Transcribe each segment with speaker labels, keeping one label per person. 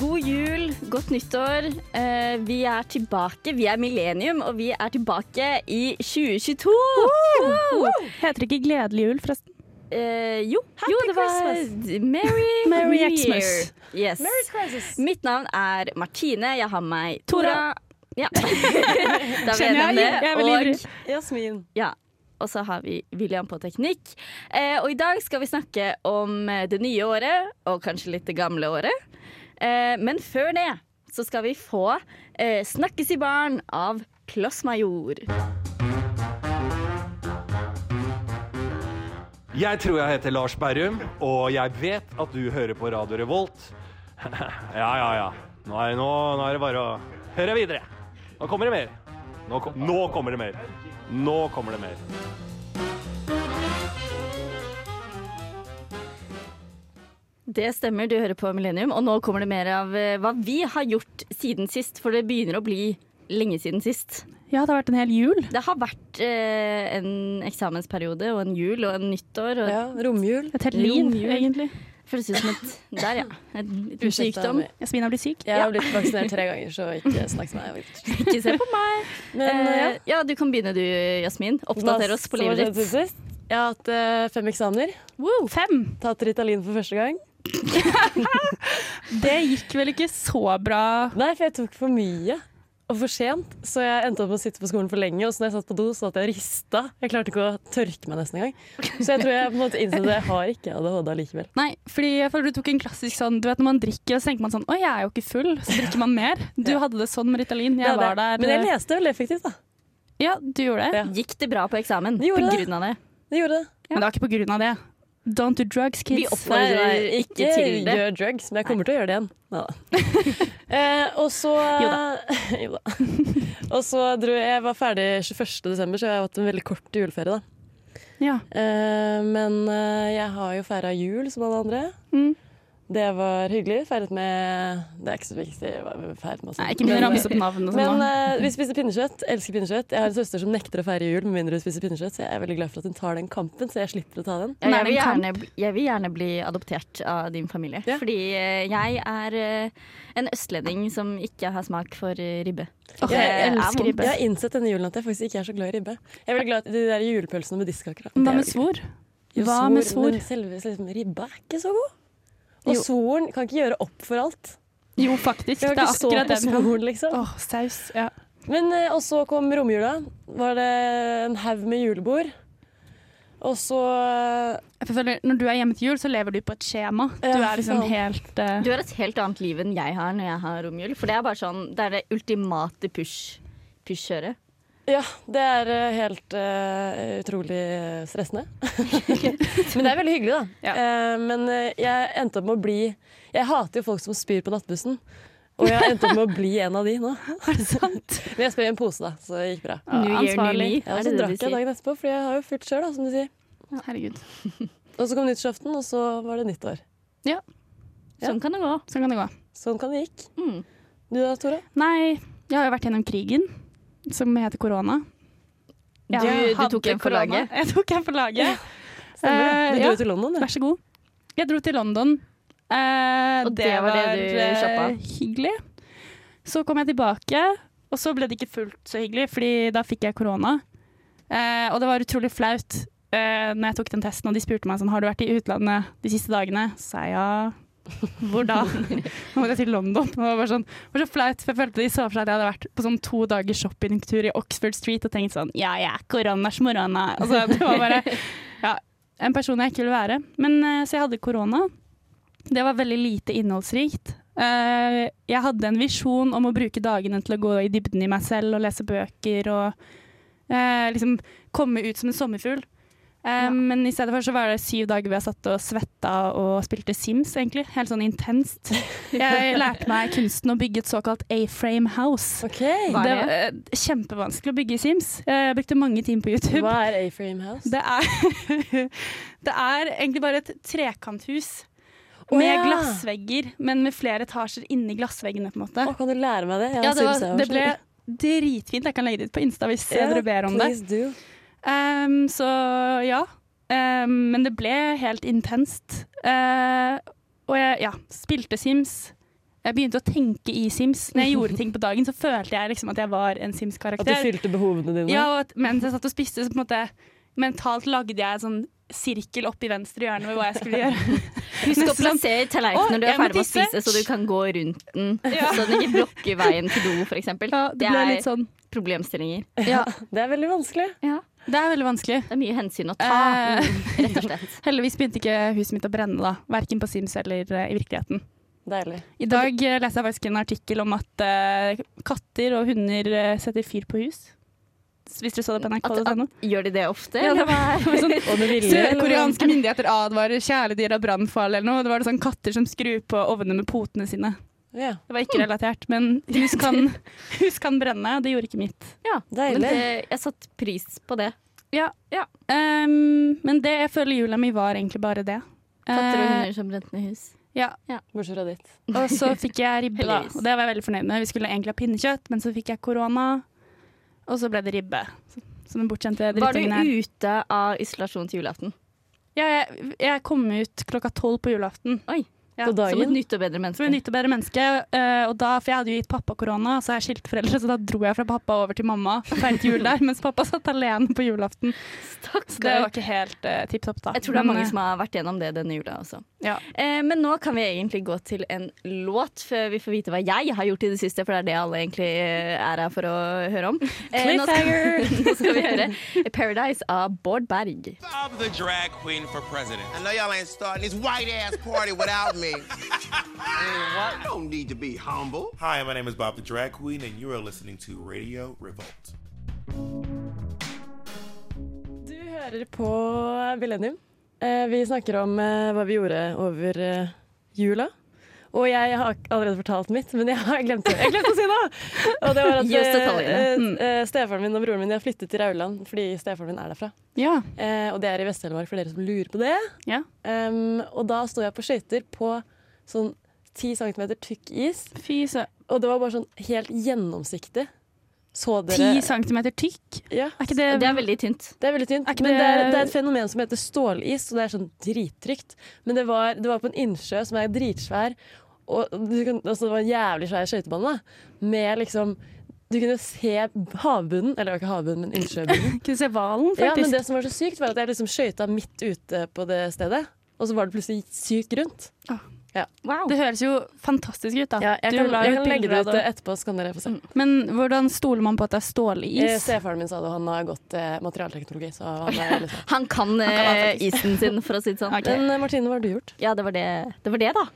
Speaker 1: God jul, godt nyttår. Eh, vi er tilbake. Vi er millennium, og vi er tilbake i 2022. Woo!
Speaker 2: Heter det ikke gledelig jul, forresten?
Speaker 1: Eh, jo.
Speaker 3: Happy
Speaker 1: jo, det var
Speaker 3: Christmas.
Speaker 1: Merry,
Speaker 2: Merry
Speaker 1: New
Speaker 2: Xmas.
Speaker 1: Year. Yes.
Speaker 3: Merry Christmas.
Speaker 1: Mitt navn er Martine. Jeg har med meg Tora.
Speaker 2: Tora.
Speaker 1: Ja. da er vi enige
Speaker 2: Kjenner jeg.
Speaker 1: om det.
Speaker 2: Jeg er veldig
Speaker 1: Og-
Speaker 2: ivrig.
Speaker 3: Jasmin.
Speaker 1: Ja. Og så har vi William på teknikk. Eh, og i dag skal vi snakke om eh, det nye året, og kanskje litt det gamle året. Eh, men før det så skal vi få eh, 'Snakkes i baren' av Kloss Major.
Speaker 4: Jeg tror jeg heter Lars Berrum, og jeg vet at du hører på Radio Revolt. ja, ja, ja. Nå er, nå, nå er det bare å høre videre. Nå kommer det mer. Nå, kom, nå kommer det mer. Nå kommer det mer.
Speaker 1: Det stemmer, du hører på Millennium. Og nå kommer det mer av eh, hva vi har gjort siden sist, for det begynner å bli lenge siden sist.
Speaker 2: Ja, det har vært en hel jul.
Speaker 1: Det har vært eh, en eksamensperiode og en jul og en nyttår. Og
Speaker 3: Ja, romjul.
Speaker 2: Et helt
Speaker 1: Jo,
Speaker 2: liv,
Speaker 1: jul.
Speaker 2: egentlig.
Speaker 1: Føles ut som et Der, ja. En liten
Speaker 3: Uskyldt av
Speaker 1: sykdom.
Speaker 3: meg.
Speaker 2: Jasmin har blitt syk.
Speaker 3: Jeg har blitt vaksinert tre ganger, så ikke snakk til meg.
Speaker 1: Ikke se på meg.
Speaker 3: Men
Speaker 1: Eh,
Speaker 3: ja.
Speaker 1: ja, du kan begynne du, Jasmin. Oppdater oss på
Speaker 3: Hva som har
Speaker 1: livet
Speaker 3: skjedd
Speaker 1: ditt.
Speaker 3: siden sist? Jeg har hatt eh, fem eksamener.
Speaker 2: Fem.
Speaker 3: Tatt Ritalin for første gang.
Speaker 2: Det gikk vel ikke så bra.
Speaker 3: Nei, for jeg tok for mye. Og for sent, så jeg endte opp med å sitte på skolen for lenge. Og så når jeg satt på do, så satt jeg og rista. Jeg klarte ikke å tørke meg nesten engang. Så jeg tror jeg på en måte innså at jeg har ikke ADHD allikevel.
Speaker 2: Nei, fordi jeg føler du tok en klassisk sånn Du vet når man drikker, så tenker man sånn Å, jeg er jo ikke full. Så drikker man mer. Du hadde det sånn med Ritalin. Jeg
Speaker 3: Det er
Speaker 2: var
Speaker 3: det.
Speaker 2: der eh,
Speaker 3: Men jeg leste veldig effektivt, da.
Speaker 2: Ja, du gjorde det.
Speaker 3: Ja.
Speaker 1: Gikk det bra på eksamen
Speaker 3: Det gjorde
Speaker 1: på
Speaker 3: det.
Speaker 1: grunn av det?
Speaker 3: Det gjorde det.
Speaker 2: Men det var ikke på grunn av det. Don't do drugs, kids.
Speaker 1: Vi oppfordrer deg ikke til det.
Speaker 3: gjør drugs, men jeg kommer til å gjøre det igjen. Neida. eh, og så
Speaker 2: Jo
Speaker 3: Jo da. og så dro jeg, jeg var ferdig 21. desember, så jeg har hatt en veldig kort juleferie, da.
Speaker 2: Ja.
Speaker 3: Eh, men eh, jeg har jo feira jul som alle andre.
Speaker 2: Mm.
Speaker 3: Det var hyggelig. Feiret med Det er ikke så viktig. jeg var Feiret med
Speaker 2: Nei, ikke begynn å ramse opp navn og sånn.
Speaker 3: men
Speaker 2: nå.
Speaker 3: eh, vi spiser pinnekjøtt. Elsker pinnekjøtt. Jeg har en søster som nekter å feire jul med mindre hun spiser pinnekjøtt, så jeg er veldig glad for at hun tar den kampen, så jeg slipper å ta den.
Speaker 1: Ja,
Speaker 2: Nei,
Speaker 1: jeg, vil
Speaker 2: den kan.
Speaker 1: gjerne, bli- jeg vil gjerne bli adoptert av din familie.
Speaker 3: Ja.
Speaker 1: Fordi eh, jeg er eh, en østlending som ikke har smak for eh, ribbe.
Speaker 2: Åh,
Speaker 1: Det
Speaker 2: jeg
Speaker 1: er
Speaker 2: elsker
Speaker 1: vondt.
Speaker 2: ribbe.
Speaker 3: Jeg har innsett denne julen at jeg faktisk ikke er så glad i ribbe. Jeg er veldig glad i de der julepølsene med diskaker. da.
Speaker 2: Hva
Speaker 3: Det er
Speaker 2: med
Speaker 3: jo-
Speaker 2: svor?
Speaker 3: Jo,
Speaker 2: Hva med svor?
Speaker 3: Men selve liksom, ribba er ikke så god. Og
Speaker 2: Jo.
Speaker 3: svoren kan ikke gjøre opp for alt.
Speaker 2: Jo, faktisk.
Speaker 3: Vi
Speaker 2: Det
Speaker 3: har
Speaker 2: er
Speaker 3: ikke så
Speaker 2: akkurat
Speaker 3: på
Speaker 2: det vi kan.
Speaker 3: svoren, liksom.
Speaker 2: Åh, saus. Ja.
Speaker 3: Men eh, og så kom romjula. Var det en haug med julebord. Og så
Speaker 2: Jeg føler, når du er hjemme til jul, så lever du på et skjema. Du
Speaker 3: Ja,
Speaker 2: er liksom
Speaker 3: faen.
Speaker 2: helt eh,
Speaker 1: Du har et helt annet liv enn jeg har når jeg har romjul. For det er bare sånn, det er det ultimate push. Push-kjøret.
Speaker 3: Ja, det er eh, helt eh, utrolig stressende. men det er veldig hyggelig, da.
Speaker 2: Ja.
Speaker 3: Eh, men eh, jeg endte opp med å bli Jeg hater jo folk som spyr på nattbussen. Og jeg har endt opp med å bli en av de nå.
Speaker 2: Er det sant?
Speaker 3: Men jeg spør i en pose, da, så det gikk bra.
Speaker 2: Ja,
Speaker 1: New year, new
Speaker 2: ansvarlig.
Speaker 1: me.
Speaker 3: Ja, og
Speaker 1: Er
Speaker 3: så
Speaker 1: det det
Speaker 3: drakk
Speaker 1: de
Speaker 3: jeg
Speaker 1: sier?
Speaker 3: dagen etterpå, for jeg har jo fullt sjøl, da, som de sier.
Speaker 2: Herregud.
Speaker 3: Og så kom nyttårsaften, og så var det nyttår. Ja.
Speaker 1: Sånn kan det gå.
Speaker 2: Sånn kan det gå.
Speaker 3: Sånn kan det gikk.
Speaker 1: Mm.
Speaker 3: Du da, Tora?
Speaker 2: Nei, jeg har jo vært gjennom krigen, som heter korona.
Speaker 1: Du-
Speaker 2: Jeg
Speaker 1: du
Speaker 2: hadde
Speaker 1: tok en for
Speaker 2: korona.
Speaker 1: laget.
Speaker 2: Jeg tok en for laget.
Speaker 3: Stemmer det.
Speaker 2: Eh,
Speaker 3: Du dro
Speaker 2: ja.
Speaker 3: til London, du.
Speaker 2: Vær så god. Jeg dro til London. Eh,
Speaker 1: Og det var det du
Speaker 2: eh,
Speaker 1: shoppa?
Speaker 2: Hyggelig. Så kom jeg tilbake, og så ble det ikke fullt så hyggelig, fordi da fikk jeg korona. Eh, og det var utrolig flaut eh, når jeg tok den testen, og de spurte meg sånn, har du vært i utlandet de siste dagene. Så sa jeg ja. Hvor da? Nå måtte jeg til London. Og det var bare sånn, det var så flaut, for jeg følte de så for seg at jeg hadde vært på sånn to dagers shoppingtur i Oxford Street og tenkt sånn Ja, ja, koronas morona. Altså, det var bare ja, en person jeg ikke ville være. Men eh, så jeg hadde korona. Det var veldig lite innholdsrikt. Eh, jeg hadde en visjon om å bruke dagene til å gå i dybden i meg selv og lese bøker og eh, liksom komme ut som en sommerfugl. Eh, Men i stedet for så var det syv dager hvor jeg satt og svetta og spilte Sims, egentlig. Helt sånn intenst. Jeg lærte meg kunsten å bygge et såkalt A-frame house.
Speaker 3: OK.
Speaker 1: Hva
Speaker 2: Det
Speaker 1: er
Speaker 2: var eh, kjempevanskelig å bygge i Sims. Eh, Jeg brukte mange timer på YouTube.
Speaker 3: Hva er A-Frame House?
Speaker 2: Det er, det er egentlig bare et trekanthus
Speaker 3: Å,
Speaker 2: med
Speaker 3: ja.
Speaker 2: glassvegger, men med flere etasjer inni glassveggene, på en måte.
Speaker 3: Å, kan du lære meg det? Jeg
Speaker 2: Ja,
Speaker 3: har
Speaker 2: det, var,
Speaker 3: Sims-hours.
Speaker 2: det ble dritfint. Jeg kan legge det ut på Insta hvis eh, dere ber om det.
Speaker 3: Please do.
Speaker 2: Ehm, så ja. Ehm, men det ble helt intenst. Eh, og jeg ja, spilte Sims. Jeg begynte å tenke i Sims. Når jeg gjorde ting på dagen, så følte jeg liksom at jeg var en
Speaker 3: At du
Speaker 2: Sims-karakter.
Speaker 3: fylte behovene dine?
Speaker 2: Ja, og at mens jeg satt og spiste, så på en måte mentalt lagde jeg en sånn sirkel opp i venstre hjørne med hva jeg skulle gjøre.
Speaker 1: Husk å
Speaker 2: Nesten sånn-
Speaker 1: plassere
Speaker 2: Å,
Speaker 1: tallerkenen når du er
Speaker 2: jeg må
Speaker 1: ferdig med å
Speaker 2: tisse.
Speaker 1: spise, så du kan gå rundt den. Så den ikke blokker veien til do, f.eks.
Speaker 2: Ja, det ble litt sånn
Speaker 1: problemstillinger.
Speaker 2: Ja,
Speaker 3: Det er veldig vanskelig.
Speaker 1: Ja,
Speaker 2: det er veldig vanskelig.
Speaker 1: det er mye hensyn å ta,
Speaker 2: Eh.
Speaker 1: mm, rett og slett.
Speaker 2: Heldigvis begynte ikke huset mitt å brenne, da. Verken på Sims eller eh, i virkeligheten.
Speaker 3: Deilig.
Speaker 2: I dag eh, leste jeg faktisk en artikkel om at eh, katter og hunder eh, setter fyr på hus. Hvis dere så det på
Speaker 1: At,
Speaker 2: nrk.no.
Speaker 1: at, gjør de det ofte?
Speaker 2: Ja, det
Speaker 1: eller hva?
Speaker 2: var sånn
Speaker 3: Og med vilje, eller
Speaker 2: Sørkoreanske myndigheter advarer kjæledyr av brannfall eller noe. Det var det sånn katter som skrur på ovnene med potene sine.
Speaker 3: hva? Ja,
Speaker 2: Det var ikke relatert, men hus kan, hus kan brenne. Det gjorde ikke mitt.
Speaker 1: ja.
Speaker 3: Deilig.
Speaker 1: Men det, jeg satte pris på det.
Speaker 2: Ja.
Speaker 1: Ja.
Speaker 2: Ehm, men det jeg føler jula mi var egentlig bare det.
Speaker 1: Katter og
Speaker 2: Eh,
Speaker 1: hunder som brente ned hus.
Speaker 2: Ja,
Speaker 3: bortsett fra ditt.
Speaker 2: og så fikk jeg ribbe, da.
Speaker 1: Heldigvis.
Speaker 2: Og det var jeg veldig fornøyd med. Vi skulle egentlig ha pinnekjøtt, men så fikk jeg korona, og så ble det ribbe. Som den bortskjemte
Speaker 1: Var du
Speaker 2: drittungen her.
Speaker 1: ute av isolasjon til julaften?
Speaker 2: Ja, jeg, jeg kom ut klokka tolv på julaften.
Speaker 1: Oi.
Speaker 2: Ja.
Speaker 3: På
Speaker 1: Som et
Speaker 3: dagen.
Speaker 1: nytt og bedre
Speaker 2: Som et
Speaker 1: menneske.
Speaker 2: nytt og bedre menneske. eh, og da, for jeg hadde jo gitt pappa korona, så jeg skilte foreldre, så da dro jeg fra pappa over til mamma og feiret jul der, mens pappa satt alene på julaften. Så det var
Speaker 1: Stakkar.
Speaker 2: ikke helt uh, tipp topp, da.
Speaker 1: Jeg tror det er
Speaker 2: Men,
Speaker 1: mange
Speaker 2: eh,
Speaker 1: som har vært gjennom det denne jula også.
Speaker 2: ja.
Speaker 1: Eh, men nå kan vi egentlig gå til en låt før vi får vite hva jeg har gjort i det siste, for det er det alle egentlig eh, er her for å høre om. Eh, nå, skal, nå skal vi høre 'Paradise' av Bård Berg.
Speaker 5: Bob the drag queen for president.
Speaker 6: I know y'all ain't starting this white ass party without me. I don't need to be humble.
Speaker 7: Hi, my name is Bob the Drag Queen, and you are listening to Radio Revolt.
Speaker 3: Du hører på Millennium. Eh, Vi snakker om eh, hva vi gjorde over eh, jula. Og jeg har ak- allerede fortalt mitt, men jeg har glemt det. Jeg glemte å si det! Og det var at
Speaker 1: Gi oss
Speaker 3: eh,
Speaker 1: detaljene.
Speaker 3: eh, eh, stefaren min og broren min de har flyttet til Rauland fordi stefaren min er derfra.
Speaker 2: ja.
Speaker 3: Eh, Og det er i Vest-Telemark, for dere som lurer på det.
Speaker 2: Ja.
Speaker 3: Em, Og da sto jeg på skøyter på sånn 10 cm tykk is,
Speaker 2: Fy søren.
Speaker 3: og det var bare sånn helt gjennomsiktig. Så dere
Speaker 2: Ti centimeter tykk?
Speaker 3: Ja.
Speaker 2: Er ikke det,
Speaker 1: Det er veldig tynt.
Speaker 3: Det er veldig tynt.
Speaker 2: Er ikke
Speaker 3: men det er,
Speaker 2: det-
Speaker 3: det er et fenomen som heter stålis, og det er sånn drittrygt. Men det var, det var på en innsjø som er dritsvær, og du kan, altså det var en jævlig svær skøytebane, da, med liksom Du kunne se havbunnen, eller det var ikke havbunnen, men innsjøbunnen.
Speaker 2: Kunne se hvalen,
Speaker 3: Ja, men
Speaker 2: faktisk.
Speaker 3: det som var så sykt, var at jeg liksom skøyta midt ute på det stedet, og så var det pludselig sykt grunt.
Speaker 1: Wow.
Speaker 2: det, høres jo fantastisk ut, da.
Speaker 3: jeg,
Speaker 2: Du
Speaker 3: kan,
Speaker 2: la ut
Speaker 3: jeg kan legge
Speaker 2: bilder
Speaker 3: det
Speaker 2: av
Speaker 3: ut eh, etterpå, så kan dere få se.
Speaker 2: Men hvordan stoler man på at det er
Speaker 3: Eh,
Speaker 2: stålis?
Speaker 3: Stefaren min sa det, og han har gått eh, materialteknologi, så han er liksom
Speaker 1: Han kan eh, isen sin, for å si det sånn.
Speaker 2: Ok.
Speaker 3: Men eh, Martine, hva har du gjort?
Speaker 1: Ja, det var det, det, var det da.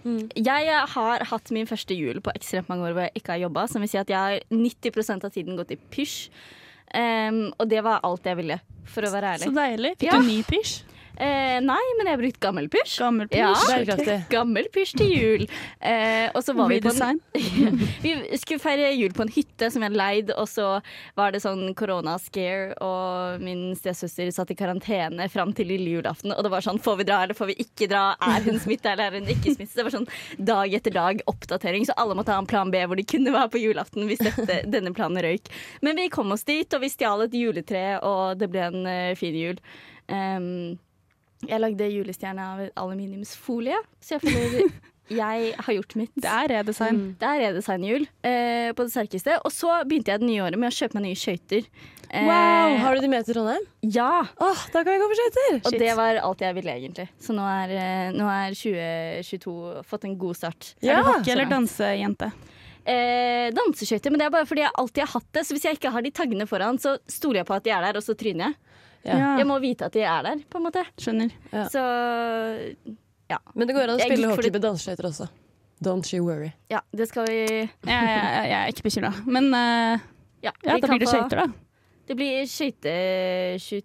Speaker 1: Jeg har hatt min første jul på ekstremt mange år hvor jeg ikke har jobba. Som vil si at jeg har 90 av tiden gått i pysj. Em, og det var alt jeg ville, for å være ærlig.
Speaker 2: Så deilig. Fikk
Speaker 1: Ja.
Speaker 2: du ny pysj?
Speaker 1: Eh, nei, men jeg har brukt gammel pysj.
Speaker 2: Gammel pysj?
Speaker 1: Ja.
Speaker 3: Bærekraftig.
Speaker 1: Gammel pysj til jul. Eh, og så var vi på en
Speaker 2: Redesign?
Speaker 1: Vi skulle feire jul på en hytte som jeg hadde leid, og så var det sånn korona-scare, og min stesøster satt i karantene fram til lille julaften, og det var sånn får vi dra eller får vi ikke dra, er hun smitta eller er hun ikke smitta? Det var sånn dag etter dag oppdatering, så alle måtte ha en plan B hvor de kunne være på julaften hvis dette, denne planen røyk. Men vi kom oss dit, og vi stjal et juletre, og det ble en eh, fin jul. Ehm, jeg lagde julestjerne av aluminiumsfolie, så jeg føler jeg har gjort mitt.
Speaker 2: Det er redesign.
Speaker 1: Der er designhjul eh, på det sterkeste. Og så begynte jeg det nye året med å kjøpe meg nye skøyter. Eh,
Speaker 3: Wow, har du de med til Trondheim?
Speaker 1: Ja!
Speaker 3: Åh, da kan vi gå på skøyter!
Speaker 1: Og det var alt jeg ville, egentlig. Så nå er, eh, nå er 2022 fått en god start.
Speaker 2: Er
Speaker 3: Ja.
Speaker 2: du hockey- eller dansejente?
Speaker 1: Eh, Danseskøyter, men det er bare fordi jeg alltid har hatt det. Så hvis jeg ikke har de taggene foran, så stoler jeg på at de er der, og så tryner jeg.
Speaker 2: Ja.
Speaker 1: Jeg må vite at de er der, på en måte.
Speaker 2: Skjønner.
Speaker 3: Ja.
Speaker 1: Så
Speaker 3: Men det går an å
Speaker 1: Jeg
Speaker 3: spille
Speaker 1: gikk for
Speaker 3: hockey
Speaker 1: det-
Speaker 3: med danseskøyter også. Don't you worry.
Speaker 1: ja, det skal vi
Speaker 2: Jeg, jeg, jeg er ikke bekymra. Men eh,
Speaker 1: Ja,
Speaker 2: ja,
Speaker 1: vi
Speaker 2: da
Speaker 1: kan
Speaker 2: blir det
Speaker 1: få-
Speaker 2: skøyter, da.
Speaker 1: Det blir skøyte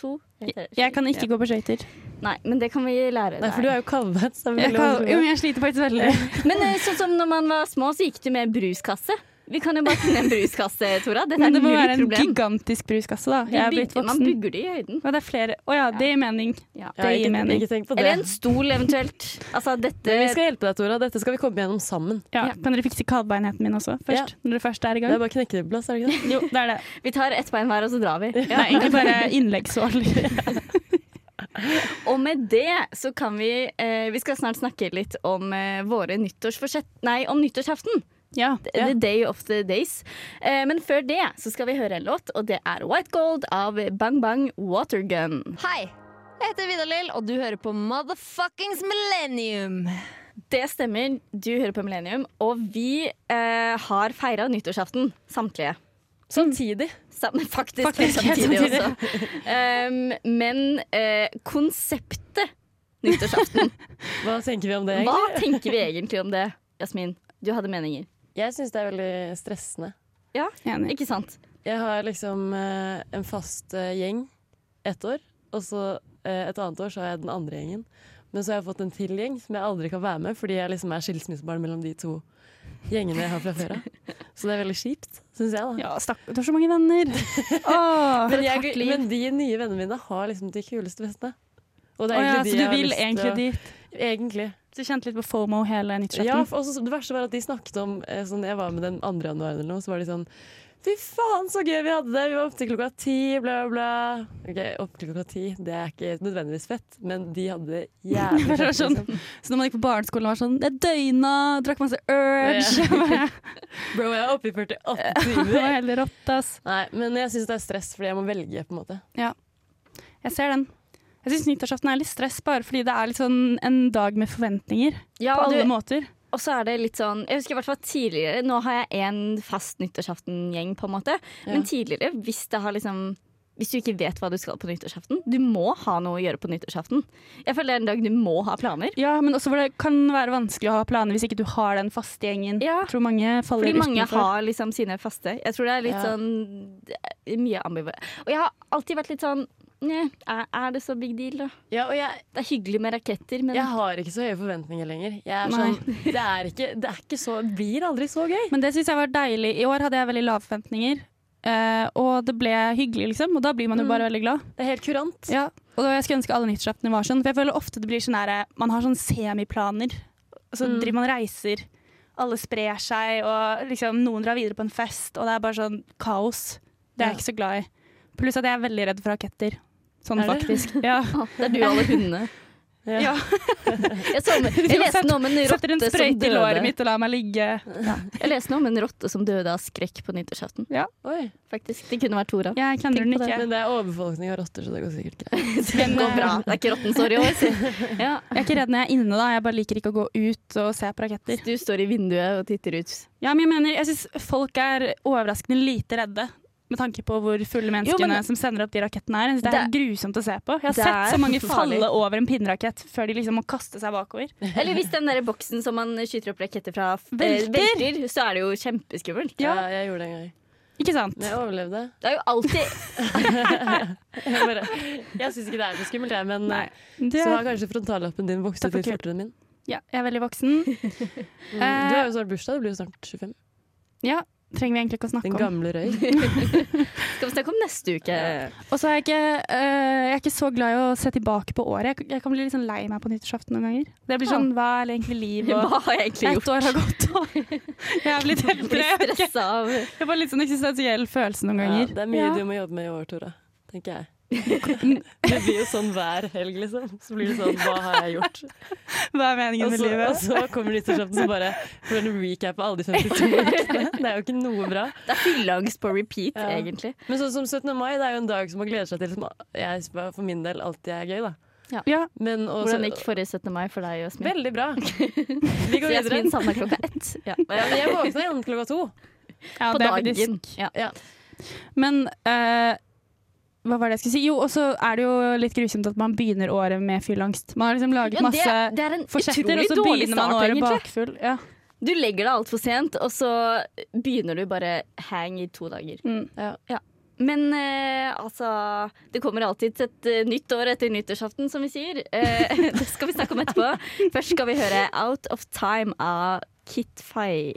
Speaker 1: 22. heter det.
Speaker 2: Jeg kan ikke
Speaker 1: Ja.
Speaker 2: gå på skøyter.
Speaker 1: Nei, men det kan vi lære
Speaker 3: Nei, for du er jo kavvet. Så det er
Speaker 2: Jeg,
Speaker 3: veldig
Speaker 2: kan, jo,
Speaker 3: vanskelig.
Speaker 2: men jeg sliter faktisk veldig.
Speaker 1: Men eh, sånn som når man var små, så gikk du med bruskasse. Vi kan jo bare finne en bruskasse, Tora. Dette er
Speaker 2: Men det må
Speaker 1: null
Speaker 2: være en
Speaker 1: problem.
Speaker 2: gigantisk bruskasse, da.
Speaker 1: Vi
Speaker 2: Jeg er
Speaker 1: bygger-
Speaker 2: blitt
Speaker 1: man
Speaker 2: voksen.
Speaker 1: bygger det i høyden.
Speaker 2: Ja, det er flere. Å ja, det gir mening.
Speaker 1: Ja.
Speaker 3: ja,
Speaker 2: det gir
Speaker 3: ikke,
Speaker 2: mening.
Speaker 3: Ikke tenk på det.
Speaker 1: Eller en stol, eventuelt. Altså dette
Speaker 3: Vi skal hjelpe deg, Tora. Dette skal vi komme gjennom sammen.
Speaker 2: Ja.
Speaker 1: Ja.
Speaker 2: Kan dere fikse kaldbeinheten min også, først? Når dere først er i
Speaker 3: Det
Speaker 2: gang?
Speaker 3: er bare knekkebrødblast, er det ikke det?
Speaker 2: Jo, det er det.
Speaker 1: Vi tar ett bein hver, og så drar vi.
Speaker 2: Det er egentlig bare innleggssål.
Speaker 1: Og med det så kan vi eh, Vi skal snart snakke litt om eh, våre nyttårsforsett... Nei, om nyttårsaften.
Speaker 2: Ja.
Speaker 1: The Day of the Days. Eh, men før det så skal vi høre en låt, og det er White Gold av Bang Bang Watergun.
Speaker 8: Hei! Jeg heter Vidar-Lill, og du hører på Motherfuckings Millennium.
Speaker 1: Det stemmer, du hører på Millennium, og vi eh, har feira nyttårsaften, samtlige.
Speaker 3: Samtidig.
Speaker 1: Sam faktisk,
Speaker 2: Faktisk,
Speaker 1: helt samtidig,
Speaker 2: samtidig.
Speaker 1: også. Um, men eh, konseptet nyttårsaften,
Speaker 3: Hva tenker vi om det,
Speaker 1: hva
Speaker 3: egentlig?
Speaker 1: tenker vi egentlig om det, Jasmin? Du hadde meninger.
Speaker 3: Jeg syns det er veldig stressende.
Speaker 1: Ja,
Speaker 2: Enig.
Speaker 1: ikke sant?
Speaker 3: Jeg har liksom eh, en fast eh, gjeng ett år, og så eh, et annet år så har jeg den andre gjengen. Men så har jeg fått en til gjeng som jeg aldri kan være med, fordi jeg liksom er skilsmissebarn mellom de to gjengene jeg har fra før av. Så det er veldig kjipt, syns jeg, da.
Speaker 2: Ja, stakk, du har så mange venner. Åh.
Speaker 3: Men, jeg,
Speaker 1: hardt liv.
Speaker 3: men de nye vennene mine har liksom de kuleste vestene. Og
Speaker 2: Å ja,
Speaker 3: de
Speaker 2: så
Speaker 3: jeg
Speaker 2: du
Speaker 3: har
Speaker 2: vil
Speaker 3: lyst til
Speaker 2: egentlig
Speaker 3: å-
Speaker 2: dit?
Speaker 3: Egentlig.
Speaker 2: Du kjente litt på FOMO hele
Speaker 3: Ja,
Speaker 2: nyttårsaften?
Speaker 3: for også, det verste var at de snakket om eh, sånn, Jeg var med den andre januaren eller noe, så var de sånn Fy faen, så gøy vi hadde det! Vi var oppe til klokka ti, bla, bla. bla." Ok, oppe til klokka ti, det er ikke nødvendigvis fett, men de hadde det jævlig
Speaker 2: Det
Speaker 3: fett.
Speaker 2: var sånn.
Speaker 3: liksom.
Speaker 2: Så når man gikk på barneskolen var sånn Jeg døgna, drakk masse urge. Bare,
Speaker 3: Bro, jeg er oppe i 48
Speaker 2: det var
Speaker 3: timer.
Speaker 2: helt rått, ass.
Speaker 3: Nei, men jeg syns det er stress fordi jeg må velge, på en måte.
Speaker 2: Jeg ser den. Jeg syns nyttårsaften er litt stress, bare fordi det er litt sånn en dag med forventninger.
Speaker 1: Ja, og,
Speaker 2: på alle
Speaker 1: du,
Speaker 2: måter.
Speaker 1: og så er det litt sånn Jeg husker i hvert fall tidligere Nå har jeg én fast nyttårsaften-gjeng, på en måte. Men tidligere, hvis det har liksom hvis du ikke vet hva du skal på nyttårsaften Du må ha noe å gjøre på nyttårsaften. Jeg føler det er en dag du må ha planer.
Speaker 2: Ja, men også hvor det kan være vanskelig å ha planer hvis ikke du har den faste gjengen.
Speaker 1: Ja.
Speaker 2: Jeg tror mange faller
Speaker 1: Fordi mange
Speaker 2: utenfor.
Speaker 1: har liksom sine faste. Jeg tror det er litt
Speaker 3: Ja.
Speaker 1: sånn det er Mye ambiver... Og jeg har alltid vært litt sånn Nei, er, er det så big deal, da?
Speaker 3: Ja, og jeg,
Speaker 1: Det er hyggelig med raketter, men
Speaker 3: jeg har ikke så høye forventninger lenger. Jeg er
Speaker 2: Nei.
Speaker 3: sånn, det, er ikke, det er ikke så Det blir aldri så gøy.
Speaker 2: Men det syns jeg var deilig. I år hadde jeg veldig lave forventninger. eh, og det ble hyggelig, liksom. Og da blir man jo
Speaker 3: Mm.
Speaker 2: bare veldig glad.
Speaker 3: Det er helt kurant.
Speaker 2: Ja. Og da jeg skulle ønske alle nyttårsaftene var sånn. For jeg føler ofte det blir sånn der Man har sånn semiplaner.
Speaker 1: Mm.
Speaker 2: Og så driver man og reiser. Alle sprer seg, og liksom noen drar videre på en fest. Og det er bare sånn kaos. Det er jeg
Speaker 3: Ja.
Speaker 2: ikke så glad i. Pluss at jeg er veldig redd for raketter. Sånn
Speaker 3: Er du?
Speaker 2: faktisk. Ja.
Speaker 1: Å, det er du og alle hundene.
Speaker 3: Ja.
Speaker 2: Ja.
Speaker 1: Jeg, så, jeg leste noe om en
Speaker 2: Setter en
Speaker 1: rotte som
Speaker 2: sprøyte i låret
Speaker 1: døde.
Speaker 2: mitt og lar meg ligge.
Speaker 1: Jeg leste noe om en rotte som døde av skrekk på nyttårsaften.
Speaker 3: Oi.
Speaker 1: Faktisk, Det kunne vært Tora.
Speaker 2: Jeg klandrer den
Speaker 1: Tenk på
Speaker 2: ikke.
Speaker 3: Men det er overbefolkning av rotter, så det går sikkert greit.
Speaker 1: Det går bra. Det er ikke rottens år i år. sier- Ja.
Speaker 2: Jeg er ikke redd når jeg er inne, da. Jeg bare liker ikke å gå ut og se på raketter.
Speaker 1: Du står i vinduet og titter ut.
Speaker 2: Ja, men jeg mener, jeg syns folk er overraskende lite redde. Med tanke på hvor fulle menneskene
Speaker 1: men-
Speaker 2: som sender opp de rakettene er. Jeg synes Det er
Speaker 1: Det-
Speaker 2: grusomt å se på. Jeg har
Speaker 1: Det er
Speaker 2: sett så mange
Speaker 1: farlig.
Speaker 2: falle over en pinnerakett før de liksom må kaste seg bakover.
Speaker 1: Eller hvis den der boksen som man skyter opp raketter fra, eh,
Speaker 2: Velter.
Speaker 1: velter, så er det jo kjempeskummelt.
Speaker 3: Ja. jeg gjorde det en gang.
Speaker 2: Ikke sant?
Speaker 3: Men jeg overlevde.
Speaker 1: Det er jo alltid
Speaker 3: Jeg, bare- jeg syns ikke det er så skummelt, jeg, men eh,
Speaker 2: Nei. Du,
Speaker 3: så har
Speaker 2: er-
Speaker 3: kanskje frontallappen din vokst
Speaker 2: Takk
Speaker 3: ut
Speaker 2: for
Speaker 3: litt fortere enn min. Mm.
Speaker 2: ja, jeg er veldig voksen.
Speaker 3: Du har
Speaker 2: Eh,
Speaker 3: jo snart bursdag, du blir jo snart 25.
Speaker 2: ja, trenger vi egentlig ikke å snakke
Speaker 3: Den
Speaker 2: om.
Speaker 3: gamle røy.
Speaker 1: Skal vi snakke om neste uke?
Speaker 2: Og så er jeg ikke, eh, jeg er ikke så glad i å se tilbake på året. Jeg, jeg kan bli litt sånn lei meg på nyttårsaften noen ganger. Det blir sånn, hva er egentlig liv? Og
Speaker 1: Hva har jeg egentlig
Speaker 2: ett
Speaker 1: gjort?
Speaker 2: år har gått, og jeg er blitt eldre.
Speaker 1: Blir stressa av
Speaker 2: Jeg får litt sånn eksistensiell følelse noen
Speaker 3: Ja,
Speaker 2: ganger.
Speaker 3: det er mye
Speaker 2: Ja.
Speaker 3: du må jobbe med i år, Tora. Tenker jeg. Det blir jo sånn hver helg, liksom. Så blir det sånn Hva har jeg gjort?
Speaker 2: Hva er meningen
Speaker 3: Og
Speaker 2: med
Speaker 3: så, og
Speaker 2: livet?
Speaker 3: så kommer nyttårsaften, så bare får en recap av alle de 52 ukene. Det er jo ikke noe bra.
Speaker 1: Det er fylleangst på repeat,
Speaker 3: Ja.
Speaker 1: egentlig.
Speaker 3: Men sånn som 17. mai, det er jo en dag som man gleder seg til. Som jeg for min del alltid er gøy, da.
Speaker 2: Ja,
Speaker 3: Men også,
Speaker 1: Hvordan gikk forrige 17. mai for deg, Jasmin?
Speaker 3: Veldig bra. Vi går
Speaker 1: Så
Speaker 3: videre.
Speaker 1: Jasmin savna klokka ett. Ja.
Speaker 3: Ja, men jeg våkna igjen klokka to.
Speaker 2: ja
Speaker 1: På
Speaker 2: det er
Speaker 1: dagen.
Speaker 2: faktisk-
Speaker 1: Ja.
Speaker 2: Men eh, hva var det jeg skulle si? Jo, og så er det jo litt grusomt at man begynner året med fyllangst. Man har liksom laget
Speaker 1: Ja, det,
Speaker 2: masse
Speaker 1: det er en
Speaker 2: forsetter,
Speaker 1: utrolig
Speaker 2: og så
Speaker 1: dårlig
Speaker 2: begynner man
Speaker 1: start,
Speaker 2: året
Speaker 1: egentlig.
Speaker 2: bakfull. Ja.
Speaker 1: Du legger deg altfor sent, og så begynner du bare hang i to dager.
Speaker 2: Mm.
Speaker 1: Men eh, altså Det kommer alltid et eh, nytt år etter nyttårsaften, som vi sier. Eh, det skal vi snakke om etterpå. Først skal vi høre Out of Time av Kit Fay.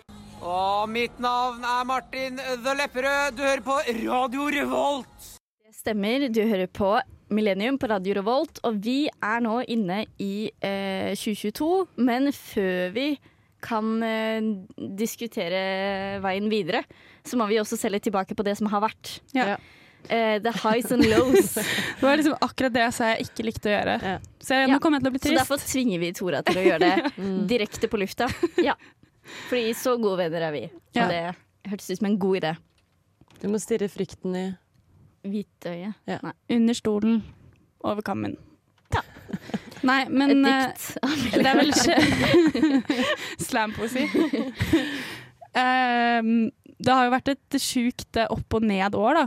Speaker 9: Og mitt navn er Martin The Lepperød. Du hører på Radio Revolt.
Speaker 1: Det stemmer. Du hører på Millennium på Radio Revolt, og vi er nå inne i eh, 2022. Men før vi kan eh, diskutere veien videre, så må vi også se litt tilbake på det som har vært.
Speaker 2: Ja.
Speaker 1: eh, the highs and lows.
Speaker 2: Det var liksom akkurat det jeg sa jeg ikke likte å gjøre.
Speaker 3: Ja.
Speaker 2: Så jeg,
Speaker 1: Ja.
Speaker 2: nå kommer jeg til å bli
Speaker 1: Så
Speaker 2: trist. Mm.
Speaker 1: derfor tvinger vi Tora til å gjøre det direkte på lufta. Ja. Fordi så gode venner er vi. Og
Speaker 2: Ja.
Speaker 1: det hørtes ut som en god idé.
Speaker 3: Du må stirre frykten i
Speaker 1: Hvitøye.
Speaker 2: Under stolen, over kammen. Nei, men
Speaker 1: Et
Speaker 2: eh,
Speaker 1: dikt.
Speaker 2: Det er vel ikke Slampoesi. Ehm, det har jo vært et sjukt eh, opp og ned år, da.